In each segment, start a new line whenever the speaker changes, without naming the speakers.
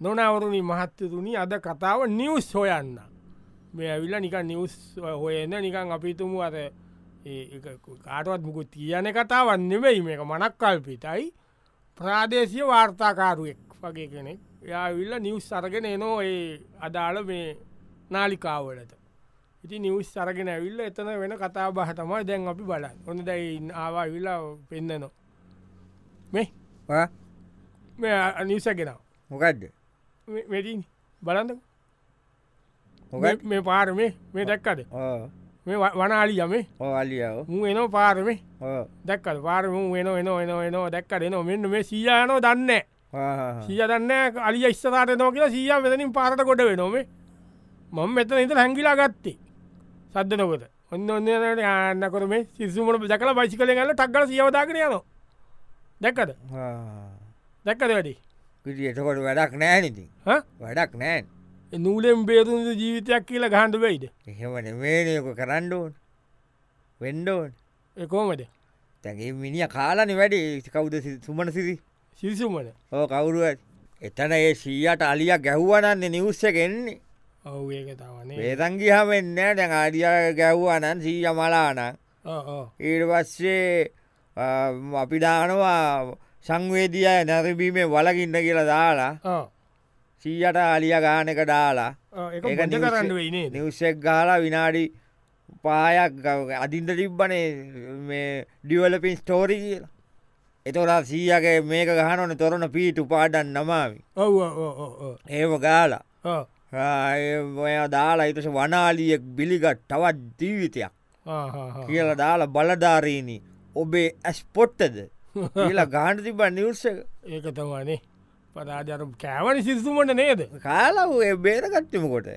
නොනවරුණි මහත්තතුනි අද කතාව නිවස් හොයන්න මේ ඇවිල්ල නික නිවස් හොයන්න නිකන් අපිතුමු අද කාටවත් මුකුත් කියන කතාවන් නෙවෙයි මේක මනක් කල්පිතයි ප්‍රාදේශය වාර්තාකාරුවෙක් වගේ කෙනෙක් යාවිල්ල නිවස් සරගෙන එනෝ ඒ අදාළ මේ නාලිකාවලට ඉති නිවස් සරගෙන ඇවිල්ල එතන වෙන කතා බහතමයි දැන් අපි බලන්න ඔොඳ දැයි ආවා විල්ලා පෙන්න්නනවා මේ මේ නිසගෙනව
මොකක්ද
වෙඩි බලන්න මේ පාරමේ මේ දැක්කද මේ වනාලි යමේ
ඕලියාව
මු එනෝ පාරමේ දැක්කල් පාරම එන එන එන එනෝ දැක්කට එනවා මෙන්න මේ සීයානෝ දන්න සිය දන්න අලි ස්ථාට නෝ කියලා සීයා වෙතනින් පාරට කොට වෙනොමේ මම මෙතන ඉත හැංගිලා ගත්තේ සද්ධ නොකත ඔන්න ඔන්නට යන්නකර මේ සිසුමට දකල බයිසි කළ ගල ටක්ගල සියවදාගෙන යනවා දැක්කද දැක්කද වැඩි
එතකොට වැඩක් නෑනති
හ?
වැඩක් නෑන්
ඒ නූලෙන් බේරුන්ද ජීවිතයක් කියලා ගහන්ඩ වෙයිද
එහෙමන වේනයක කරන්නඩෝන් වෙන්ඩෝන්
එකෝමද
තැගේ මිනිිය කාලන වැඩේ කවුද සි- සුමන සිසි
සිසුමට
ඕ කවුරුවත් එතන ඒ සීයට අලිය ගැහ්වනන්න නිවස්සකෙන්නේ
ඔව ඒක තවනේ
වේදංගිහම වෙන්න දැන් ආඩිය ගැව්වනන් සීය මලාන ඊට පස්සේ අ, අපි දානවා සංවේදිය නැරබීමේ වලකින්න කියලා දාලා සීයට අලිය ගානක දාලා
එක
ඒක
ගඩ
නිවසේ-
කරන්න වෙයිනේ
නිවසෙක් ගාලා විනාඩි පායක් ගව- අදින්ට තිබ්බනේ මේ ඩිවලපින් ස්ටෝරි කියලා එතොලා සීයගේ මේක ගහනන තොරන පීටු පාඩන් නමාමි
ඔව
ඒම ගාලා ඔය දාලා ඉතුස වනාලියෙක් බිලිගත් තවත් ජීවිතයක් කියලා දාලා බලධාරීණී ඔබේ ඇස්පොට්ටද කියලා ගාන තිබ නිවස
ඒක තවනේ පරාජර කෑවන සිසුමට නේද
කාලා ඒ බේරගත්තමකොට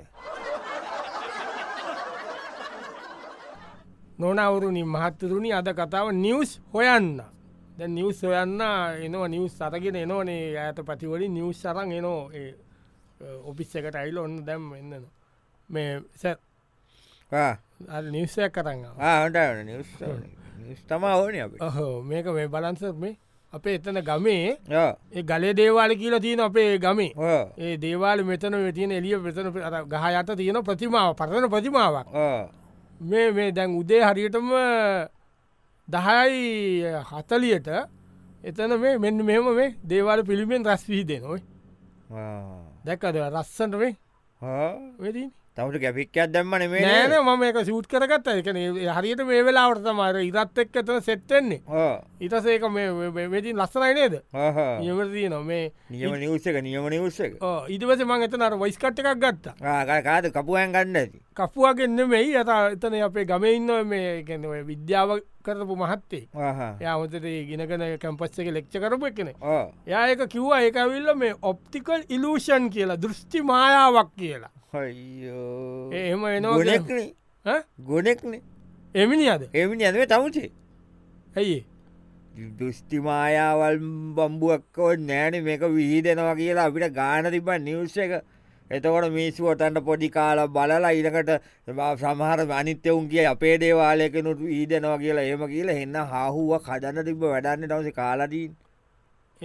නොනවරුණි මහත්තරුණි අද කතාව නිවස් හොයන්න දැ නිවස් හොයන්න එනවා නිවස් සරගෙන එනෝනේ ඇත පතිවලින් නිවස් සරන් එනෝ ඔපිස් එකට අයිල ඔන්න දැම් එන්නන මේ සැ නිවසයක් කරන්න
ආට නිස් තමා ඕන අප
ඔහෝ මේක මේ බලන්ස මේ අපේ එතන ගමේ
ඕ
ඒ ගලේ දේවාල කියලා තියෙන අපේ ගමේ
ඕ
ඒ දේවාල මෙතන ඔය තියෙන එලිය මෙතන අර ගහ යට තියෙන ප්‍රතිමාව පරණ ප්‍රතිමාවක්
ඕ
මේ මේ දැන් උදේ හරියටම දහයි හතලියට එතන මේ මෙන්න මෙම මේ දේවාල පිළිමෙන් රස්වී දෙනොයි දැක්කද රස්සන්ට මේ වෙදී
තවට ගැපික්කයක් දැම්ම නෙමේ
නෑන මම එක සූට් කරගත්ත එකන හරියට මේ වෙලාවට තමර ඉරත් එක් එතන සෙට්ටෙන්නේ
ඕ
ඉතසේක මේ වෙතින් ලස්සනයි නේද නිවරදී නො මේ
නියම නිවසක නියම නිවසක
ඉදවස මං එතන අර වයිස්කට් එකක් ගත්ත
කාද කපුුවන් ගන්න ඇති
කපුුවගෙන්න්න මෙයි ඇත එතන අපේ ගමඉන්න මේ ගැන විද්‍යාව කරපු මහත්තේ යාමතට ගෙනකන කැම්පස් එක ලෙක්්ච කරපු එකන
ඕ
යායක කිව්වා ඒකවිල්ල මේ ඔප්ටිකල් ඉලූෂන් කියලා දෘෂ්ටි මායාවක් කියලා
හයියෝ
ඒ එහෙම එනවා කියලා.
ගොනෙක්න ගොනෙක්න
එමිනි අද
එමනි ඇදේ තමුසේ
ඇයි
දෘෂ්ටිමායාවල් බම්බුවක්කෝ නෑන මේක විහිදෙනවා කියලා අපිට ගාන තිබ නිවස එක එතකොට මිස්සුවටන්ට පොඩි කාල බලලා ඉනකට සමහර අනිත්‍යවුන් කිය අපේ දේවාලයකනුට ඊදනවා කියලා ඒම කියලා එන්න හාහුව කදන්න තිබ වැඩන්න තවස කාලදී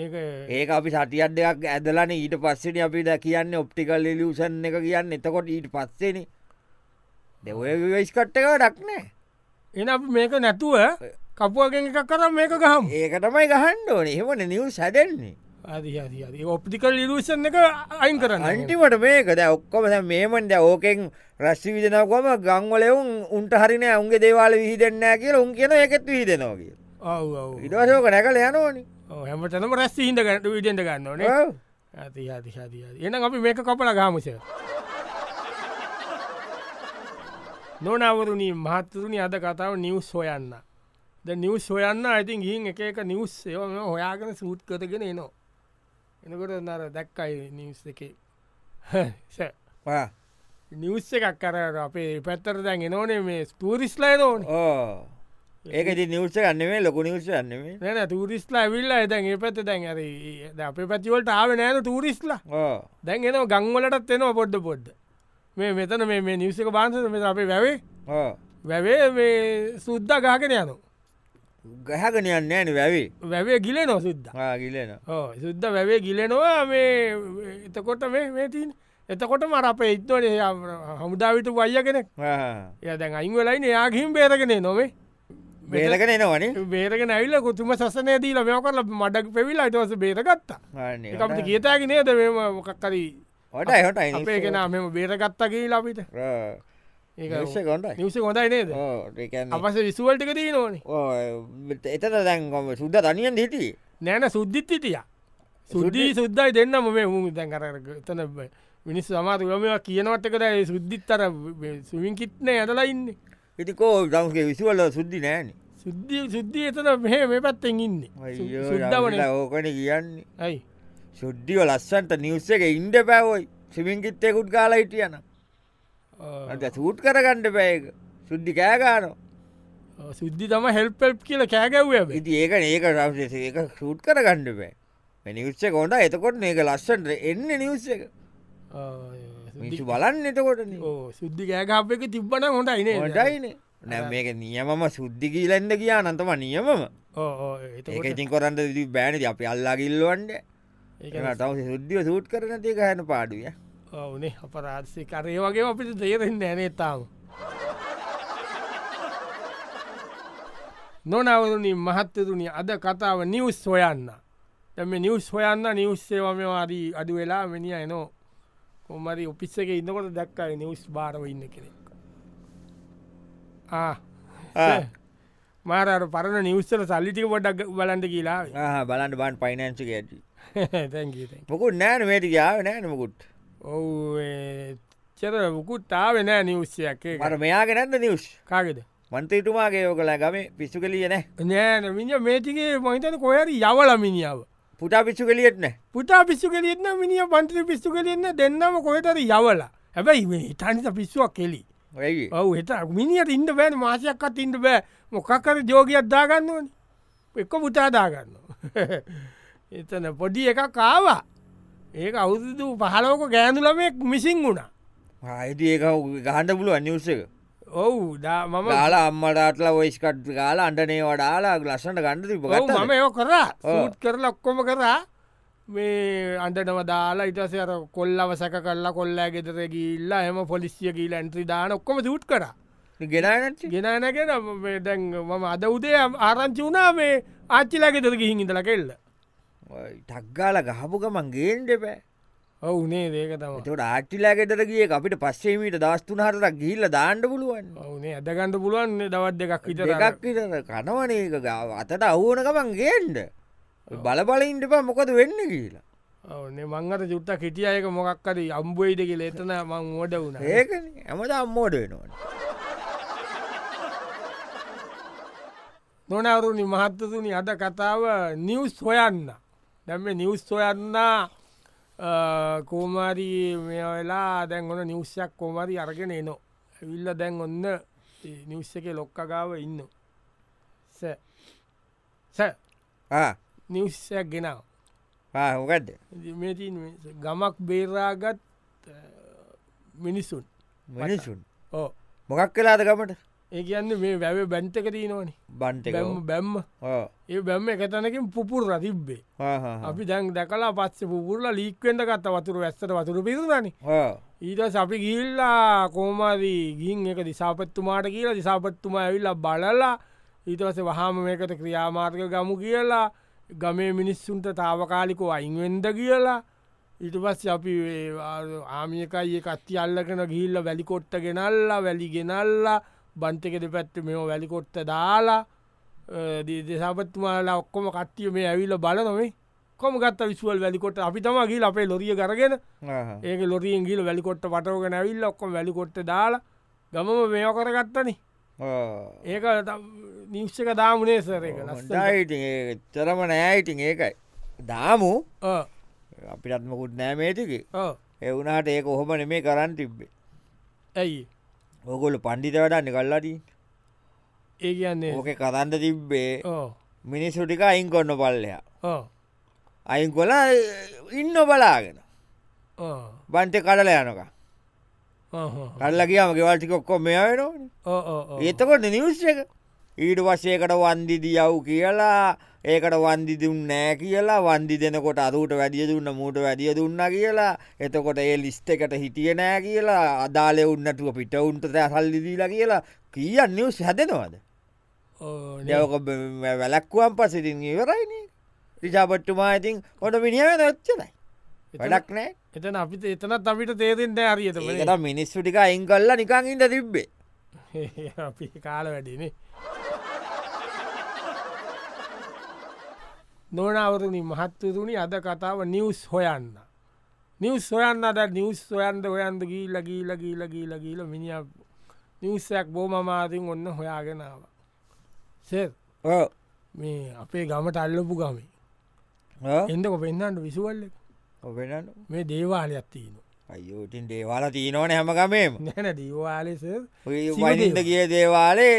ඒ
ඒක අපි සටියත් දෙයක් ඇදලන ඊට පස්සෙන අපිට කියන්න ඔප්ටිකල් ලියෂන් එක කියන්න එතකොට ඊට පස්සෙන දෙවය විවයිස්කට්ටක ඩක්නෑ
එන අප මේක නැතුව කපුුවගෙන් එකක් කර මේක ගහම්
ඒකටමයි ගහන්ඩ ඕන එහෙමන නිව් සැදෙන්නේ
අධ ඔප්ටිකල් ඉලූෂන් එක අයින් කරන්න
අන්ටිමට මේක දැ ඔක්කොම දැන් මේමන්ට ඕකෙන් රස්්ි විදනකොම ගංවලවුන් උන්ට හරින උන්ගේ දේවාල විහිදන්න කියලා උන් කියන එකත් විහිදෙනවා කිය
ඔව් ඔව්.
ඉටවසෝක නැකල යනෝනි
ඔව්, හැමටනම රැස් හිට ගැට විටෙන්ට ගන්නන ඇති හති හති එන අපි මේක කපල ගාමස නොනවරුණී මහත්තුරුණි අද කතාව නිවස් හොයන්න ද නිවස් හොයන්න ඇතින් ගිහින් එක එක නිවස් ඒම හොයාගෙන සූට් කරගෙන එනවා එනකොට නර දැක්කයි නිවස් එක නිවස් එකක් කර අපේ පැත්තර දැන් එනෝනේ මේ ස්තූරිස්ලා නෝන
ඕ ඒකති නිවස ගන්නමේ ලොකු නිවස ගන්නමේ
නැන තුරිස්ලා විල්ලා එදැන් ඒ පැත දැන් ඇර අප පැතිවලට ආව නෑන තුරිස්ලා
ඕ
දැන් එන ගංවලටත් එනවා පොඩ්ඩ පොඩ්ඩ මේ මෙතන මේ- මේ නිවසක පාන්සම අපේ වැැවේ
ඕ
වැැවේ මේ සුද්දා ගාගෙන යනු
ගහගෙන යන්න ෑන වැැවේ
වැවේ ගිලෙනෝ සුද්ද
ගිලෙන
ඕ, සුද්ද වැවේ ගිලෙනවා මේ එතකොට මේ- මේ තින් එතකොට මර අපේ ඉත්වට හමුදාවිට වල්ය කෙනෙක් ය දැන් අයින් වෙලයින යාගින් බේරගෙන නොවේ
බේලකන එනවනේ
බේරග නැල්ල කුතුම සසනය දීල මෙ කරල මඩක් පෙවිල් අයිටවස බේරගත්තා එකට කියතෑකි නේද මෙම මොකක්කරී
ට එහට
අපේ කෙන මෙම බේරගත්තගේ ලබිට
ෂ කොටයි
නිවස හොඳයි නේද අපස විසුවල්ටික දී නොනේ
එතට දැන්කොම සුද්ද තනියන් හිටි
නෑන සුද්ධිත්තිටිය සුද්දී සුද්දයි දෙන්නම මේ හු දැන් කර තන මිනිස් සමාතු ගමවා කියනවත්තකට සුද්ධිත්තර සුවින් කිත්නය ඇදලා ඉන්න
ඉතිකෝ දම්ගේ විසිවල්ල සුද්දි නෑන
සුද්ධිය සුද්ධිය එතන මෙහ මේ පැත්තෙන් ඉන්න සුද්ධවන
ඕකන කියන්නේ
ඇයි
සුද්ධියෝ ලස්සන්ට නිවස්ස එක ඉන්ඩ පැවෝයි සිමින්කිත්තෙකුත් කාලා හිටියන අට සූට් කරගණ්ඩ පැයක සුද්ධි කෑගානෝ
සුද්ධි තම හෙල්පෙල්් කියල කෑගැව්ව
ඉති ඒක ඒක රම්සේ ඒක සූට් කරගණ්ඩ පෑ නිවස්ස කොඩ එතකොට ඒක ලස්සන්ට එන්න නිවස්ස එක මිනිසු බලන්න එතකොට
සුද්ධි කෑගප් එක තිබ්බන හොට අයින
ොඩයින නැ මේක නියමම සුද්ධිකීලෙන්ඩ කියා නන්තම නියමම ඒක ඉතින් කොරන්න බෑනති අපි අල්ලාගිල්ලුවන්ඩ තම සුද්ධිය සූට් කරන තිය හැන පාඩුිය
ඕනේ අපරාත්සේ කරය වගේ අපිට තේරෙන්න ඇනේ තාම නොනවරුණින් මහත්තතුනි අද කතාව නිවස් හොයන්න තැම නිවස් හොයන්න නිවස්සේවමවාදී අඩු වෙලා වෙනිය එනෝ කොමරි උපිස්ස එක ඉන්නකොට දැක්කයි නිවස් භාරව ඉන්න කෙනෙක් ආ, මාරර පරණ නිවස්සල සල්ලිටික පොඩක් බලන්ට කියලා
බලන්න බන් පයිනන්සි ඇති
තැන්ගීත
පොකුත් නෑන මේට ගාව නෑනමකුත්
ඔව් චර වකුත්තාාව නෑ නිවස්සයක් ඒක
මට මෙයාගෙනන්න නිවස්
කාගෙද
මන්තේතුමාගේ යෝකලා ගම පිස්සු කලියන
නෑන මිනි මේටිගේ මහිතන කොහරි යවල මිනිියාව
පුටා පිස්සු කලියෙත් නෑ
පුටා පිස්සු කෙලෙන්න මිනිිය පන්ත්‍රි පිස්සු කෙලෙන්න දෙන්නම කොහෙතර යවල හැබැයි මේ හිතනිත පිස්සුවක් කෙලි
ඔයි
ඔව හිත මිනිියට ඉන්න බෑන මාසයක්කත් ඉන්න බෑ මොකක්කර ජෝගයක් දාගන්න ඕනි එක්ක පුටාදාගන්න එතන පොඩි එක කාවා ඒක අවුදු පහලෝක ගෑනුලමෙක් මිසින් වුණා
ආයිති ඒක ගහන්ඩ පුළුව නිවස එක
ඔව් දා මම
ගාලා අම්මටාටලා ඔයිස්කට් ගාලා අන්ටනේ වඩාලා ලස්සට ගණඩ
ඔව්, මම
තිබගත්ම
යෝ කරා සූට් කරල ඔක්කොම කරා මේ අන්ටනව දාලා ඉටසර කොල්ලව සැක කරලා කොල්ලා ගෙතර ගිල්ලා එම පොලිසිය කියීල ඇන්ත්‍රී දාන ඔක්කොම සූට් කර
ගෙනනට
ගෙනනගෙන දැන් මම අද උදේ ආරංචි වුණා මේ ආච්චිලා ගෙතර ගිහින් ඉඳල කෙල්ල
ටක්ගාල ගහපු ගමන් ගේන්ඩ පෑ
ඔවුනේ දේක තම
තට ආටිලා ගෙදර ගිය අපිට පස්සේමීට දස්තුන හරක් ගිල්ල දාණ්ඩ පුළුවන්
ඔවුනේ ඇදගන්න පුළුවන් දවත් දෙකක් විතර අර.
දෙකක් විතර කනවනක ගාව අතට අවුවන ගමන් ගේන්ඩ බලබලයින්ට පා මොකද වෙන්න කියලා
ඔවුනේ මංගත චුට්ට කෙටියයක මොකක්කද අම්බුවයිද කියල එතන මං ෝඩ වුණ
ඒක ඇමට අම්මෝඩ වෙනවා
නොනවරුණි මහත්තතුනි අද කතාව නිවස් හොයන්න දැම නිවස් හොයන්න කෝමාරි මේ වෙලා දැන් ඔන්න නිවසයක් කෝමරි අරගෙන එනෝ ඇවිල්ල දැන් ඔන්න නිවස් එක ලොක්කගාව ඉන්න ස- ස නිවසයක් ගෙනාව
හොකක්ද
ඉතින් මේ තියෙන මේ ගමක් බේරාගත් අ, මිනිසුන්
මිනිසුන්
ඕ
මොකක් කලාද ගමට
ඒ කියන්න මේ වැැව බැන්තක තියනවනි
බන්ටක
බැම්ම බැම්ම ඒ බැම්ම එකතනකින් පුපුර රතිබ්බේ අපි දැන් දැකලා පස්ස පුපුරල ලීක්වෙන්ට ගත්ත වතුර වැස්සට වතුර පිරුණන ඊට අපි ගිල්ලා කෝමාදී ගින් එක දිසාපත්තුමාට කියලා දිසාපත්තුමා ඇවිල්ලා බලලා ඊටවස වහම මේකට ක්‍රියාමාර්ග ගමු කියලා ගමේ මිනිස්සුන්ට තාවකාලිකෝ අයින්වෙන්ඩ කියලා ඉට පස් අපි ඒ ආ- ආමියකයි කත්ති අල්ලගෙන ගිල්ල වැලිකොට්ට ගෙනල්ලා වැලි ගෙනල්ලා බන්තකෙද පැත්ත මෙෝ වැලිකොට්ට දාලා අ, දි- දෙසාපත්තුමාලා ඔක්කොම කට්ටිය මේ ඇවිල්ල බල නොවේ කොම ගත්ත විශුවල් වැලිකොට අපි තමගේ අපේ ලොරිය කරගෙන ඒක ලොරියෙන් ගිල වැලිකොට්ට පටෝග නැවිල්ල ඔක්කොම වැලිකොට්ට දාලා ගමම මේෝ කරගත්තන ඒක නිශ්ෂක දාමනේ සරක
තරම නෑයිඉතින් ඒකයි දාමු අපිටත්මකුත් නෑමේතික එවුනාට ඒක ඔහොම නෙමේ කරන්න තිබ්බේ
ඇයි
ඕකොල පණ්ඩිත වඩන්න කල්ලාටී
ඒ කියන්නේ
ඕක කරන්න තිබ්බේ
ඕ
මිනිස්සුටික අයින් කොන්න පල්ලයා
ඕ
අයින් කොලා ඉන්න බලාගෙන
ඕ
බන්ට කඩල යනක
ඕ
කල්ල කියම ගෙවල්ටිකොක්කො මෙයාවෙන
ඕ ඕ
ඒතකොට නිවස්්ක ඊට වශයකට වන්දි දියව් කියලා ඒකට වන්දිදුම් නෑ කියලා වන්දි දෙනකොට අරුට වැඩිය දුන්න මූට වැඩිය දුන්න කියලා එතකොට ඒ ලිස්ට එකට හිටිය නෑ කියලා අදාලෙ උන්නටුව පිට උන්ට සල්ලිදීලා කියලා කියන්න නිවස් හැදෙනවාද
ඕ, නේ.
යක වැලක්කුවම් පසිටින් ඉවරයින රිජාපට්ටුමා ඉතින් හොට මිනිියම නොච්චනයි වැඩක් නෑ
එතන අපිට එතනත් අපිට තේරෙන් නෑ හරියට
ඒකට මිනිස්සු ටික අයින් කල්ලා නිකං ඉට තිබ්බේ
අපි කාල වැඩිනේ නොනවරණින් මහත්තුරුණි අද කතාව නිවස් හොයන්න නිවස් හොයන්න අද නිවස් සොයන්ද ඔයන්ද ගී ලගී ලගී ලගී ලගීල මිනි නිවසයක් බෝමමාතින් ඔන්න හොයාගෙනාව සෙ
ඕ
මේ අපේ ගමට අල්ලපු ගමේ එදක පෙන්න්නට විසුවල්ල
ඔබෙන
මේ දේවාලයක් තියන
අයෝටින් දේවාල තිීනෝන හැමකමේම
නැන දීවාලෙස සිව්
වනින්ද කිය දේවාලේ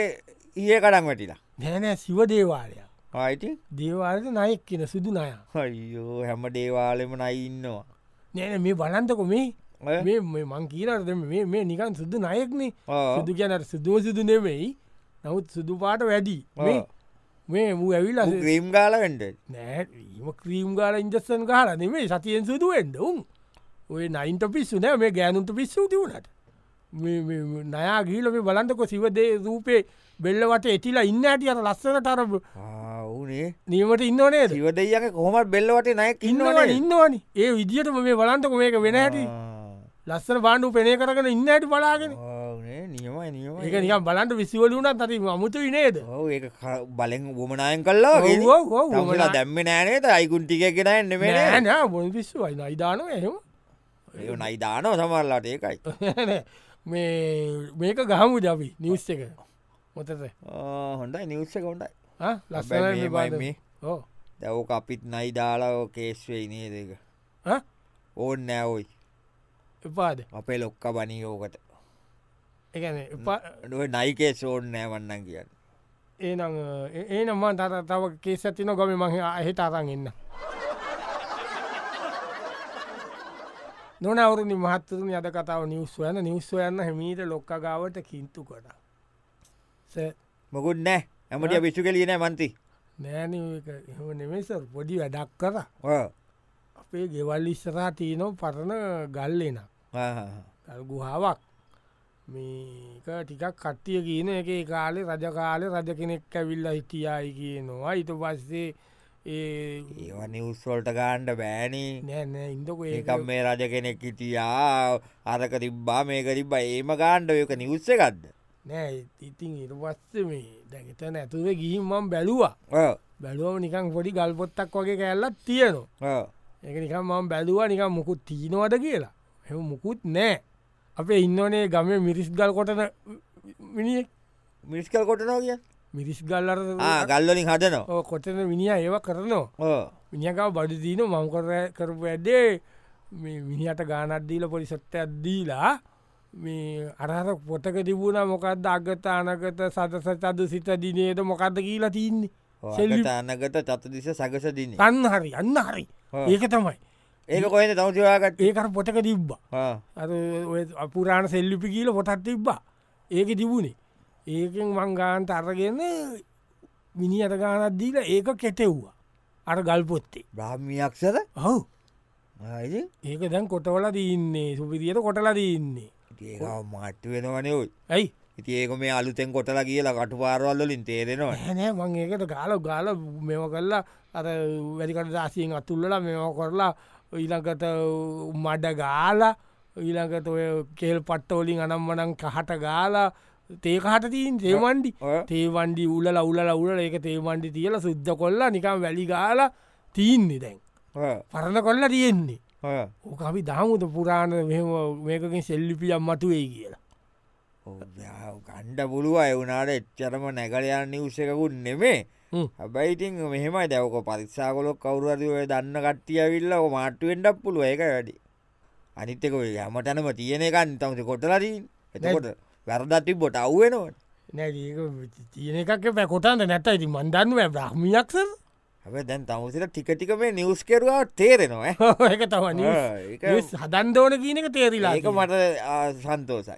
ඒ කඩන් වැටිලා
නැනෑ සිව දේවාලයක්
ආයිති
දේවාලට නයෙක් කියෙන සිදු නයා
අයෝ හැම දේවාලෙම නයින්නවා
නෑන මේ බලන්තක මේ
ඔය?
මේ මේ මං කියීරට මේ මේ නිකන් සුද්දු නයෙක්නේ
ආ.
සුදු කියනට සුදුව සිදු නෙවෙයි නවත් සුදු පාට වැඩි මේ
ආ.
මේ මූ ඇවිල්ල
ඌ ක්‍රීම් ගාල වෙන්ඩ
නෑම ක්‍රීම් ගාල ඉන්ජස්සන් කාල නෙමේ සතියෙන් සුදුුවෙන්ඩ උන් ඔය නයින්ට පිස්සු නෑ මේ ගෑනුන්ට පිස්සු තිවුණට නයා ගීලම බලන්තක සිවදේ රූපේ බෙල්ලවට එටිලා ඉන්න ඇට අර ලස්සනට අර
ඕනේ
නියමට ඉන්නවනේද
ඉවදයක කොහොමත් බෙල්ලවට නයක්
ඉන්නවා
ඉන්නවන
ඉන්නවනි ඒ විදිහටම මේ බලන්තක මේක වෙන ඇටි ලස්සන බාණ්ඩු පෙනය කරගෙන ඉන්න ඇයට බලාගෙන
නියමයි නියම
ඒක නිකම් බලන්ට විසිවලුනත් අති අමුතු විනේද
ඔව ඒ බලෙන් වමනායෙන් කල්ලා
ඔව්, ඔව්, ඔව්,
තමලා
වුමනායන්.
දැම්ම නෑනේත අයිකුන් ටික කෙනන්න මේ
නෑ බොන් පිස්සු වයි අයිදානව එහෙම
නයිදානෝ සමරලාට ඒකයි
මේ මේක ගහමු ජවි නිවස් එක මොතත
ආ, හොඳයි නිවස්ස කොඩයි
ලස්සන
මේ
නිබාද.
මේ.
ඔව්.
දැවක අපිත් නයිදාලා කේස්වෙයි නේ දෙක
ඈ?
ඕන්න නෑවයි
එපාද
අපේ ලොක්ක බනියෝකට
එකන එපා
නුව නයිකේ සෝන් නෑවන්නන් කියන්න
ඒනම් ඒ නම්මන් තර තව කේස ඇතින ගොම මහ අහෙට අරන් එන්න නොනවරුනි මහත්තරුණ අද කතාව නිවස්වයන නිවස්වයන්න හෙමීට ලොක්ක ගාවට කින්තු කොට ස
මොකුත් නෑ ඇමට පිස්සු කලියනෑ මන්ති
නෑන එහම නෙමේසර් පොඩි වැඩක් කර අපේ ගෙවල් ඉස්සරා තියනො පරණ ගල්ලෙන ගුහාවක් මේක ටිකක් කට්ටිය කියන එක කාලේ රජ කාලය රජ කෙනෙක් ඇවිල්ල හිටියයි කියනවා ඉට පස්සේ ඒ
ඒවා නිවස්වොල්ට ගාන්ඩ බෑනී
නෑන ඉදක
ඒකම් මේ රජ කෙනෙක් හිටියා අරක තිබ්බා මේක තිබ්බ ඒම ගාණ්ඩ යක නිවස්ස එකක්ද
නෑ ඉතින් ඉට පස්ස මේ දැකත නැතුව ගිහිම්මම් බැලවා බැලුවම නිකං පොඩි ගල්පොත්තක් වගේ කැල්ලත් තියනවා ඒක නිකම් මම බැලවා නිකම් මොකුත් තිීනවද කියලා එ මුකුත් නෑ අපේ ඉන්නනේ ගම මිරිස් ගල් කොටන මිනිිය
මිස්කල් කොටනෝ කිය
මිරිස් ගල්ලර
ගල්ලොලින් හදනවා
කොටන මිනිිය ඒව කරනවා
ඕ.
මිනිියකව බඩ දීන මංකර කරපු ඇඩේ මිනිහට ගානත්දීල පොලිසොත්ත ඇද්දීලා මේ අරහර පොතක තිබුණ මොකක්ද අගත අනගත සතස චද සිත දිනේද මොකක්ද කියලා තියන්නේ
ඕ,
සෙල්ලි-
අගට අනගත චතදිස සගස දින
අන්න හරි අන්න හරි
ඔව්.
ඒක තමයි
ඒක කොහෙද තවතිවාගත්
ඒකර පොටක තිබ්බා අර ඔය අපුරාණ සෙල්ලිපි කියීල පොටත් තිබ්බා ඒක තිබුණේ ඒකෙන් මංගාන්ට අරගෙන මිනි අට ගානත් දීල ඒක කෙටෙව්වා අර ගල්පොත්තේ
බ්‍රහ්මියක්ෂර
හවු ඒක දැන් කොටවල දීන්නේ සුපිදියට කොටලා දීන්නේ
ඒ මට්ට වෙනවනේ ඔයි
ඇයි
ඉති ඒක මේ අලුතෙන් කොටලා කියලා කටු පාරවල්ලින් තේරෙනවා
හැනෑ මං ඒකට ගාල ගාල මෙම කල්ලා අර වැරිකට දාසියෙන් අතුල්ලලා මෙම කරලා ඊළඟට මඩ ගාල ඊළඟට ඔය කෙල් පට්ටෝලින් අනම්මනං කහට ගාලා තේකහට තිීන් තේමන්ඩි
ඔය.
තේවන්ඩි උල ලවුල ලවුල ඒක තේමන්ඩි තියල සුද්ධ කොල්ලා නිකම් වැලි ගාලා තියන්නේ දැන්
ඕ,
පරණ කොල්ලා තියෙන්නේ
ඕ.
ඕකපි දහමුත පුරාණ මෙහෙම මේකකින් සෙල්ලිපියම් මතුවේ කියලා
ඔව්, යා, ගණ්ඩ පුළුව එවුනාට එච්චරම නැගලයන් නිවසකුන් නෙමේ
හ්ම්.
හැබයිඉතින් මෙහෙමයි දැවක පරික්ෂාකොලොක් කවරුරදය දන්න කට්ටියවිල්ල මාට්ටුවෙන්ඩක් පුළුව ඒක වැඩි අනිත්තක යමටනම තියෙන එකන් තමති කොටලදී එතකොට වැරදති බොට අව්වෙනවට
නැ තියෙන එකක් පැකොටන්ට නැත ඇති මන්දන්නුව බ්‍රහ්මියක්සර
හැබ දැන් තමුසිට ටිකටික මේ නිවස් කෙරවා තේරෙනවා ඈ.
ඒක තවනි
ආ, ඒක-
හදන්දෝන කියනක තේරිලා
ඒක මට ආ, සන්තෝසයි